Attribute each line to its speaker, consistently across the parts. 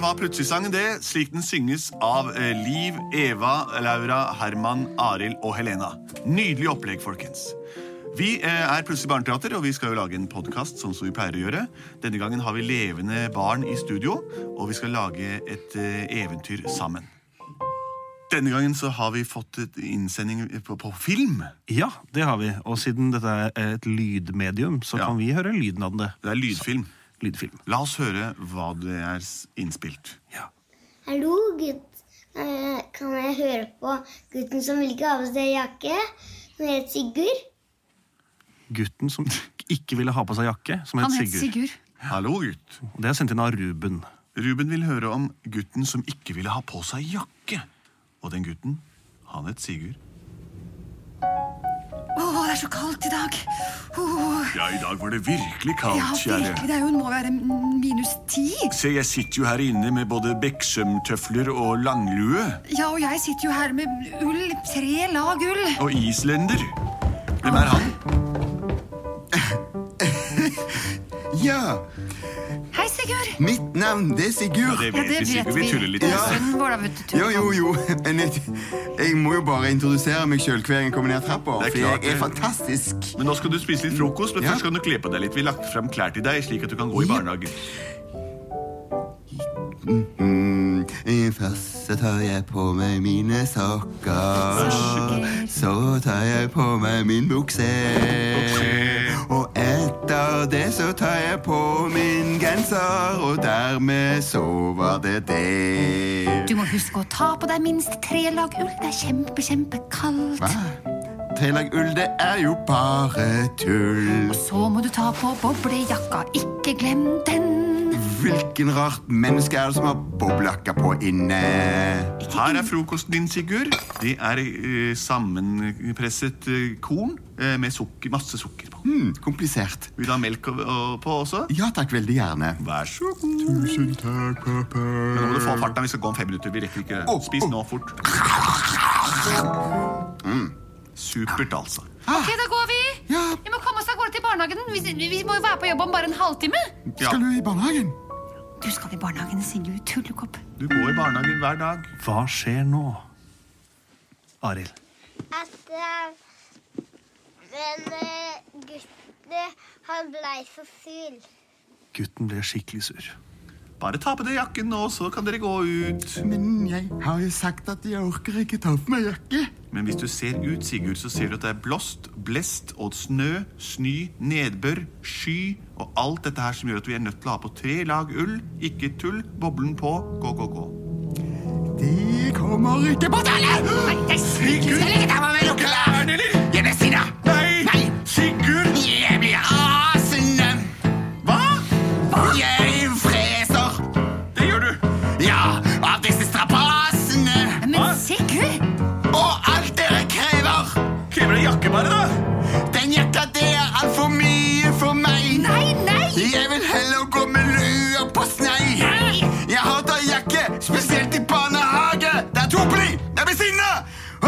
Speaker 1: var Plutselig-sangen, det, slik den synges av eh, Liv, Eva, Laura, Herman, Arild og Helena. Nydelig opplegg, folkens. Vi eh, er Plutselig barneteater, og vi skal jo lage en podkast. Som vi pleier å gjøre. Denne gangen har vi levende barn i studio, og vi skal lage et eh, eventyr sammen. Denne gangen så har vi fått et innsending på, på film.
Speaker 2: Ja, det har vi. Og siden dette er et lydmedium, så
Speaker 1: Ja.
Speaker 2: kan vi høre lyden av det.
Speaker 1: Det er lydfilm.
Speaker 2: Lydfilm.
Speaker 1: La oss høre hva det er s- innspilt.
Speaker 2: Ja.
Speaker 3: Hallo, gutt. Eh, Kan jeg høre på gutten som vil ikke ha på seg jakke? Han heter Sigurd.
Speaker 2: Gutten som ikke ville ha på seg jakke, som het
Speaker 4: Han het
Speaker 2: Sigurd.
Speaker 4: Sigurd.
Speaker 1: Hallo, gutt.
Speaker 2: Og Det er sendt inn av Ruben.
Speaker 1: Ruben vil høre om gutten som ikke ville ha på seg jakke. Og den gutten, han het Sigurd.
Speaker 4: Å, det er så kaldt i dag. Åh,
Speaker 1: Ja, i dag var det virkelig
Speaker 4: ja, virkelig. Det er jo, må være minus ti.
Speaker 1: Se, jeg sitter jo her inne med både Beksømtøfler og langlue.
Speaker 4: Ja, og jeg sitter jo her med ull. Tre lag ull.
Speaker 1: Og islender. Hvem er han?
Speaker 5: Ja,
Speaker 4: Hei, Sigurd.
Speaker 5: mitt navn det er Sigurd.
Speaker 1: Det
Speaker 4: Ja, det vet
Speaker 1: Sigurd.
Speaker 4: vi.
Speaker 1: Vi tuller litt.
Speaker 5: Ja.
Speaker 4: Sønnen vår, da, vet du.
Speaker 5: Jo, jo, jo. Men jeg, jeg må jo bare introdusere meg sjøl hver gang jeg kommer ned trappa.
Speaker 1: Det er
Speaker 5: For
Speaker 1: klart
Speaker 5: jeg er
Speaker 1: det.
Speaker 5: fantastisk.
Speaker 1: Men nå skal du spise litt frokost, men
Speaker 5: Ja.
Speaker 1: først skal du kle på deg litt. Vi har lagt frem klær til deg, slik at du kan gå i
Speaker 5: Ja.
Speaker 1: barnehagen.
Speaker 5: Mm, først så tar jeg på meg mine sokker. Så tar jeg på meg min bukse. Og etter det så tar jeg på min genser, og dermed så var det
Speaker 4: Du
Speaker 5: det.
Speaker 4: må huske å ta på deg minst tre lag ull. Det er kjempe, kjempekaldt.
Speaker 5: Hva? Trelag ull, det er jo bare tull.
Speaker 4: Så må du ta på boblejakka. Ikke glem den.
Speaker 5: Hvilken rart menneske er det som har boblejakke på inne?
Speaker 1: Her er frokosten din, Sigurd. Det er eh, sammenpresset eh, korn eh, med sukker, masse sukker på.
Speaker 5: Hmm, komplisert.
Speaker 1: Vil du ha melk og, og på også?
Speaker 5: Ja takk, veldig gjerne.
Speaker 1: Vær så god.
Speaker 5: Tusen takk, pappa.
Speaker 1: Nå må du få farten. Vi skal gå om fem minutter. Vi rekker ikke.
Speaker 5: Å,
Speaker 1: Spis
Speaker 5: å.
Speaker 1: nå fort. Mm. Supert, altså.
Speaker 4: Ok, da går vi.
Speaker 5: Ja,
Speaker 4: Vi må komme oss av gårde til barnehagen. Vi, vi må jo være på jobb om bare en halvtime.
Speaker 1: Ja,
Speaker 5: skal du i barnehagen?
Speaker 4: Du skal i barnehagen, Sigurd. Tullekopp.
Speaker 1: du går i barnehagen hver dag.
Speaker 2: Hva skjer nå? Arild.
Speaker 3: At eh, den gutten, han blei så sur.
Speaker 2: Gutten ble skikkelig sur.
Speaker 1: Bare ta på deg jakken nå, så kan dere gå ut.
Speaker 5: Men jeg har jo sagt at jeg orker ikke ta på meg jakke.
Speaker 1: Men hvis du ser ut, Sigurd, så ser du at det er blåst, blest og snø, sny, nedbør, sky og alt dette her som gjør at vi er nødt til å ha på tre lag ull. Ikke tull. Boblen på. Gå, gå, gå.
Speaker 5: Det kommer ikke på tale! Sigurd! Jeg blir sinna! Nei!
Speaker 1: Sigurd!
Speaker 5: Jeg blir rasende!
Speaker 1: Hva?
Speaker 5: Jeg freser!
Speaker 1: Det gjør du.
Speaker 5: Ja, av disse strapasene!
Speaker 4: Men Sigurd!
Speaker 5: Og alt dere krever!
Speaker 1: Krever det jakke bare, da?
Speaker 5: Den jakka, det er altfor mye for meg.
Speaker 4: Nei, nei!
Speaker 5: Jeg vil heller gå med lua på snei. Jeg hater jakke, spesielt i barnehage. Det er tåpelig! Jeg blir sinna!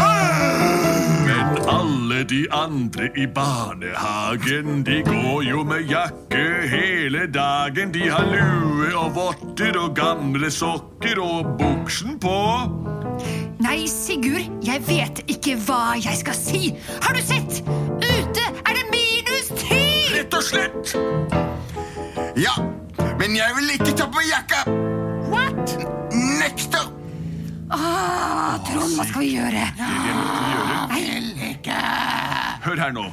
Speaker 5: Åh!
Speaker 1: Men alle de andre i barnehagen, de går jo med jakke hele dagen. De har lue og votter og gamle sokker og buksen på.
Speaker 4: Nei, Sigurd, jeg vet ikke hva jeg skal si. Har du sett? Ute er det minus ti!
Speaker 1: Rett og slett.
Speaker 5: Ja, men jeg vil ikke ta på jakka.
Speaker 4: What?
Speaker 5: Nekter.
Speaker 4: Ah, Trond, hva skal vi gjøre?
Speaker 1: Det må vi gjøre. Hør her nå.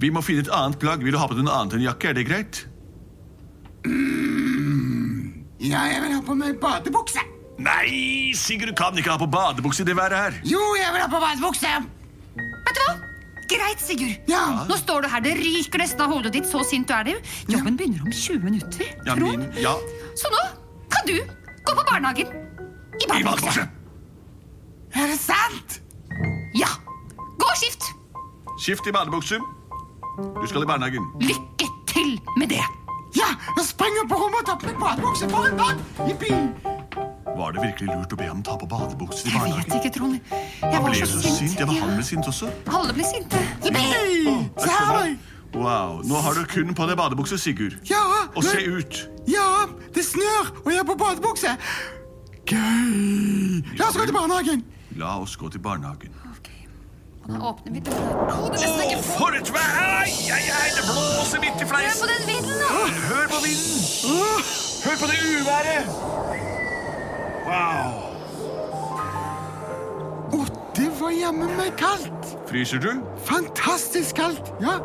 Speaker 1: Vi må finne et annet plagg. Vil du ha på deg noe annet enn jakke? Er det greit?
Speaker 5: Ja, jeg vil ha på meg badebukse.
Speaker 1: Nei, Sigurd du kan ikke ha på badebukse i det været her.
Speaker 5: Jo, jeg vil ha på badebukse.
Speaker 4: Vet du hva? Greit, Sigurd.
Speaker 5: Ja.
Speaker 4: Nå står du her, det ryker nesten av hodet ditt, så sint du er. du. Jobben begynner om 20 minutter.
Speaker 1: Ja,
Speaker 4: Trond.
Speaker 1: min- ja.
Speaker 4: Så nå kan du gå på barnehagen i
Speaker 1: I
Speaker 4: badebukse.
Speaker 1: badebukse.
Speaker 5: Er det sant?
Speaker 4: Ja. Gå og skift.
Speaker 1: Skift i badebukse. Du skal i barnehagen.
Speaker 4: Lykke til med det.
Speaker 5: Ja, jeg springer på rommet og tar på meg badebukse for en dag. Jippi.
Speaker 1: Var det virkelig lurt å be ham ta på badebukser i
Speaker 4: Jeg vet
Speaker 1: barnehagen?
Speaker 4: ikke, Trond. Jeg
Speaker 1: Han
Speaker 4: var
Speaker 1: ble
Speaker 4: så
Speaker 1: jo så
Speaker 4: sint.
Speaker 1: sint. Jeg var
Speaker 4: Ja.
Speaker 1: han ble sint også.
Speaker 4: Alle ble sinte.
Speaker 5: Jippi.
Speaker 1: Der
Speaker 5: Se her,
Speaker 1: kommer
Speaker 5: du.
Speaker 1: han. Wow. Nå har du kun på deg badebukse, Sigurd.
Speaker 5: Ja,
Speaker 1: Og
Speaker 5: nå-
Speaker 1: se ut.
Speaker 5: ja, det snør, og jeg er på badebukse. Gøy. La oss gå til barnehagen.
Speaker 1: La oss gå til barnehagen.
Speaker 4: Ok. Da åpner vi døra. Å, det er nesten
Speaker 1: Å,
Speaker 4: ikke
Speaker 1: for et vær! Ai, ai, ai, det blåser midt i
Speaker 4: Hør på
Speaker 1: fleisen.
Speaker 4: den vinden, da!
Speaker 1: Hør på vinden. Hør på det uværet. Wow.
Speaker 5: Å, det var jammen meg kaldt.
Speaker 1: Fryser du?
Speaker 5: Fantastisk kaldt. Ja,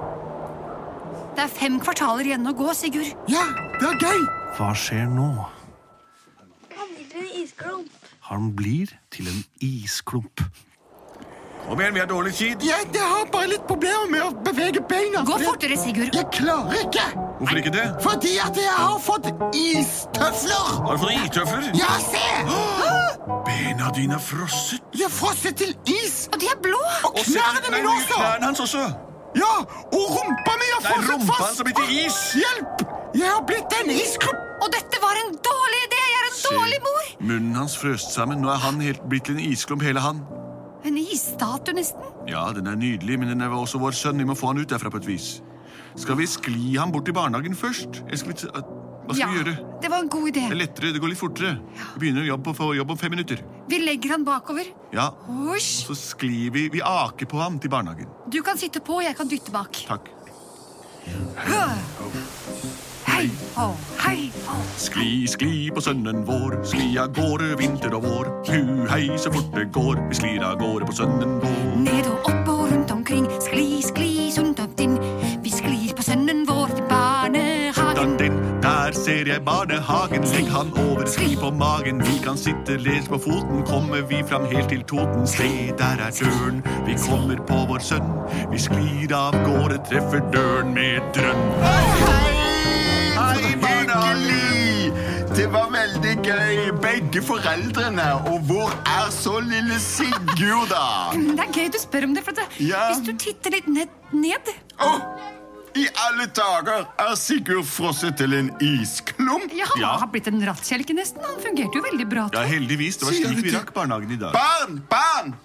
Speaker 4: Det er fem kvartaler igjen å gå, Sigurd.
Speaker 5: ja, det er gøy.
Speaker 2: Hva skjer nå?
Speaker 3: Han blir en isklump.
Speaker 2: Han blir til en isklump.
Speaker 1: Kom igjen, vi har dårlig tid.
Speaker 5: Jeg, jeg har bare litt problemer med å bevege beina.
Speaker 4: Gå
Speaker 5: fordi-
Speaker 4: fortere, Sigurd.
Speaker 5: Jeg klarer ikke,
Speaker 1: Hvorfor ikke det?
Speaker 5: fordi at jeg har fått istøfler.
Speaker 1: Har du fått itøfler?
Speaker 5: Ja, se!
Speaker 1: Bena dine er frosset.
Speaker 5: De er frosset til is.
Speaker 4: Og de er blå!
Speaker 5: Og
Speaker 1: se,
Speaker 5: knærne
Speaker 1: nei,
Speaker 5: mine
Speaker 1: nei,
Speaker 5: også.
Speaker 1: Knærne hans også.
Speaker 5: Ja, og rumpa mi er
Speaker 1: Det er
Speaker 5: frosset
Speaker 1: rumpa hans
Speaker 5: fast.
Speaker 1: som blir til is.
Speaker 5: Hjelp! Jeg har blitt en isklubb.
Speaker 4: Og dette var en dårlig idé! Jeg er en dårlig mor!
Speaker 1: Munnen hans frøst sammen. Nå er han helt blitt til en isklump, hele han.
Speaker 4: En isstatue, nesten.
Speaker 1: Ja, den er nydelig, men den er også vår sønn. Vi må få han ut derfra på et vis. Skal vi skli ham bort til barnehagen først? Eller skal vi t Hva skal vi gjøre?
Speaker 4: det var en god idé.
Speaker 1: Det er lettere, det går litt fortere. Vi begynner jobb på, på jobb om fem minutter.
Speaker 4: Vi legger han bakover.
Speaker 1: Ja,
Speaker 4: Husj!
Speaker 1: så sklir vi Vi aker på ham til barnehagen.
Speaker 4: Du kan sitte på, jeg kan dytte bak.
Speaker 1: Takk.
Speaker 4: Hø! Hei hå, hei hå.
Speaker 1: Skli, skli på sønnen vår, skli av gårde vinter og vår. Hu hei, så fort det går, vi sklir av gårde på sønnen vår.
Speaker 4: Ned og opp og rundt omkring, skli, skli, sunt opp din. Vi sklir på sønnen vår til barnehagen.
Speaker 1: Dan din, der ser jeg barnehagen, legg han over, skli på magen. Vi kan sitte lett på foten, kommer vi fram helt til Toten. Se, der er døren, vi kommer på vår sønn. Vi sklir av gårde, treffer døren med et drønn.
Speaker 5: Hei!
Speaker 1: Hei,
Speaker 5: for
Speaker 1: barnehagen.
Speaker 5: hyggelig! Det var veldig gøy, begge foreldrene. Og hvor er så lille Sigurd, da?
Speaker 4: Det er gøy du spør om det, for at det-
Speaker 5: Ja.
Speaker 4: hvis du titter litt ned, ned
Speaker 5: Å, I alle dager er Sigurd frosset til en isklump.
Speaker 4: Ja, han
Speaker 1: Ja.
Speaker 4: har blitt en rattkjelke nesten. Han fungerte jo veldig bra.
Speaker 1: Ja,
Speaker 4: tror jeg.
Speaker 1: heldigvis, det var
Speaker 5: Sier
Speaker 1: slik
Speaker 5: du
Speaker 1: vi
Speaker 5: det?
Speaker 1: rakk barnehagen i dag.
Speaker 5: Barn, barn!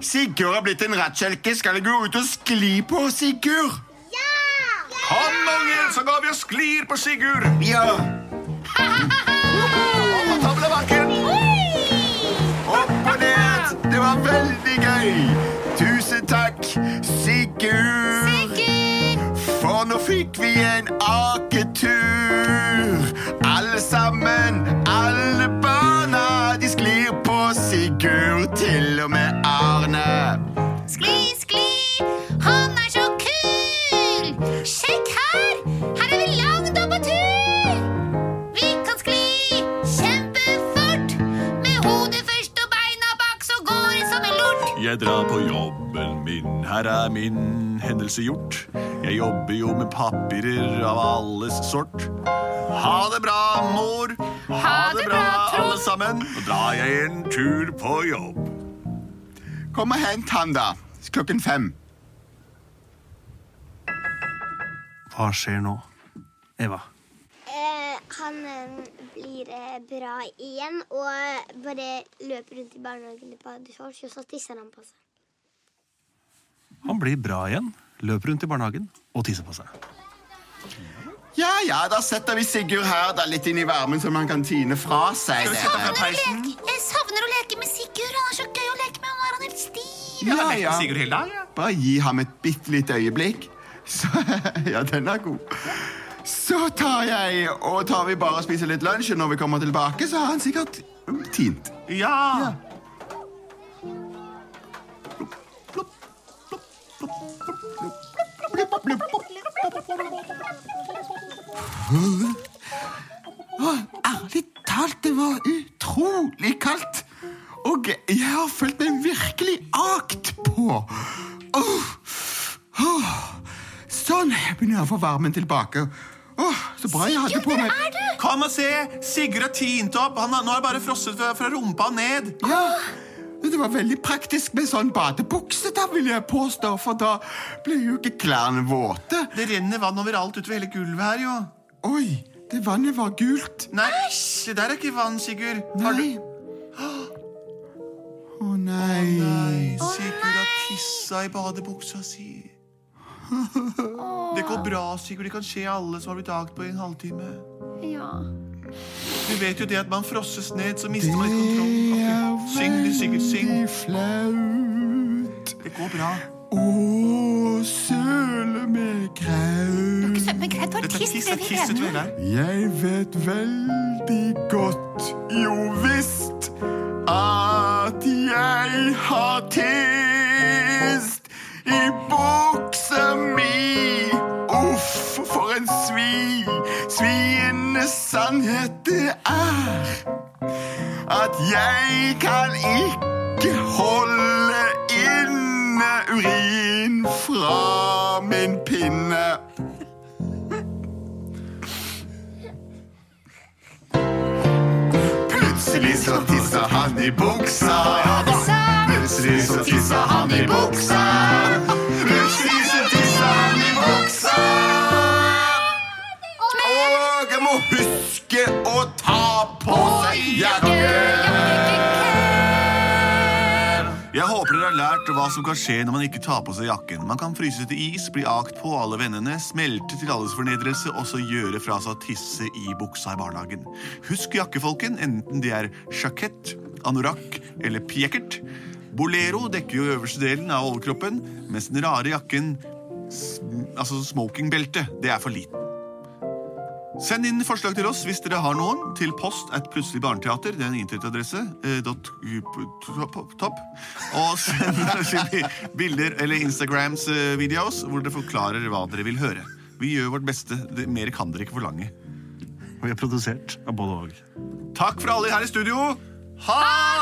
Speaker 5: Sigurd har blitt en rattkjelke. Skal jeg gå ut og skli på Sigurd?
Speaker 1: Kom, ungen, så går vi og sklir på Sigurd.
Speaker 5: Ja.
Speaker 1: Opp og tavle bakken.
Speaker 5: Opp og ned. Det var veldig gøy. Tusen takk, Sigurd. For nå fikk vi en aketur. Alle sammen, alle barna, de sklir på Sigurd, til og med Arne.
Speaker 6: Skli, skli, han er så kul! Sjekk her! Her er vi langt oppe på tur! Vi kan skli kjempefort! Med hodet først og beina bak, så går det som en lort.
Speaker 1: Jeg drar på jobben min, her er min hendelse gjort. Jeg jobber jo med papirer av alles sort. Ha det bra, mor. Ha det bra, alle sammen. Nå drar jeg en tur på jobb.
Speaker 5: Kom og hent han, da. Klokken fem.
Speaker 2: Hva skjer nå? Eva.
Speaker 3: han eh, blir bra igjen og bare løper rundt i barnehagen i badeshorts, og så tisser han på seg.
Speaker 2: Han blir bra igjen. Løper rundt i barnehagen og tisser på seg.
Speaker 5: Ja, ja, da setter vi Sigurd her, da, litt inn i varmen, som han kan tine fra seg.
Speaker 6: Savner å leke- Jeg savner å leke med Sigurd. Han er så gøy å leke med. Nå er han helt stiv.
Speaker 5: Ja, ja. Bare gi ham et bitte lite øyeblikk. Så, ja, den er god. Så tar jeg og tar vi bare og spiser litt lunsj, og når vi kommer tilbake, så har han sikkert um, tint.
Speaker 1: Ja!
Speaker 5: Ærlig talt, det var utrolig kaldt. Og jeg har følt meg virkelig akt på. Åh, åh. Sånn, jeg begynner å få varmen tilbake. Åh, så bra jeg hadde på meg.
Speaker 1: Kom og se! Sigurd har tint opp. Han har, nå er bare frosset fra, fra rumpa og ned.
Speaker 5: Ja, det var veldig praktisk med sånn badebukse, da vil jeg påstå, for da blir jo ikke klærne våte.
Speaker 1: Det renner vann overalt utover hele gulvet her, jo.
Speaker 5: Oi, det vannet var gult.
Speaker 1: Nei, det der er ikke vann, Sigurd. Har du
Speaker 5: Nei. Å nei.
Speaker 1: Nei, Sigurd har tissa i badebuksa si. Det går bra, Sigurd. Det kan skje alle som har blitt jagt på i en halvtime.
Speaker 4: Ja.
Speaker 1: Du vet jo det at man frosses ned, så mister man ikke kontrollen. Ok, Syng, du, Sigurd. Syng.
Speaker 5: flaut
Speaker 1: Det går bra.
Speaker 5: å søle med kraut.
Speaker 4: Ikke søt, men greit, ta en
Speaker 1: Dette er
Speaker 4: tiss
Speaker 1: tiss, det
Speaker 4: ved
Speaker 1: er tiss ute ved
Speaker 4: veden.
Speaker 1: der.
Speaker 5: Jeg vet veldig godt, jo visst, at jeg har tist i buksa mi. Uff, for en svi. Sviende sannhet det er at jeg kan ikke holde inne urin fra min pinne. Plutselig så tissa han i buksa. Plutselig så tissa han i buksa. Plutselig så tissa han i buksa. Og jeg må huske å ta på seg jakken.
Speaker 1: Jeg håper dere har lært hva som kan skje når man ikke tar på seg jakken. Man kan fryse til is, bli akt på alle vennene, smelte til alles fornedrelse og så gjøre fra seg å tisse i buksa i barnehagen. Husk jakkefolken, enten de er sjakett, anorakk eller pjekkert. Bolero dekker jo øverste delen av overkroppen, mens den rare jakken, s- altså smokingbeltet, det er for liten. Send inn forslag til oss hvis dere har noen, til post at plutselig barneteater. Det er en internettadresse. Eh, dot, top, top. Og send oss inn bilder eller Instagrams eh, videos hvor dere forklarer hva dere vil høre. Vi gjør vårt beste. Det, mer kan dere ikke forlange.
Speaker 2: Og vi er produsert av både og.
Speaker 1: Takk for alle her i studio. Ha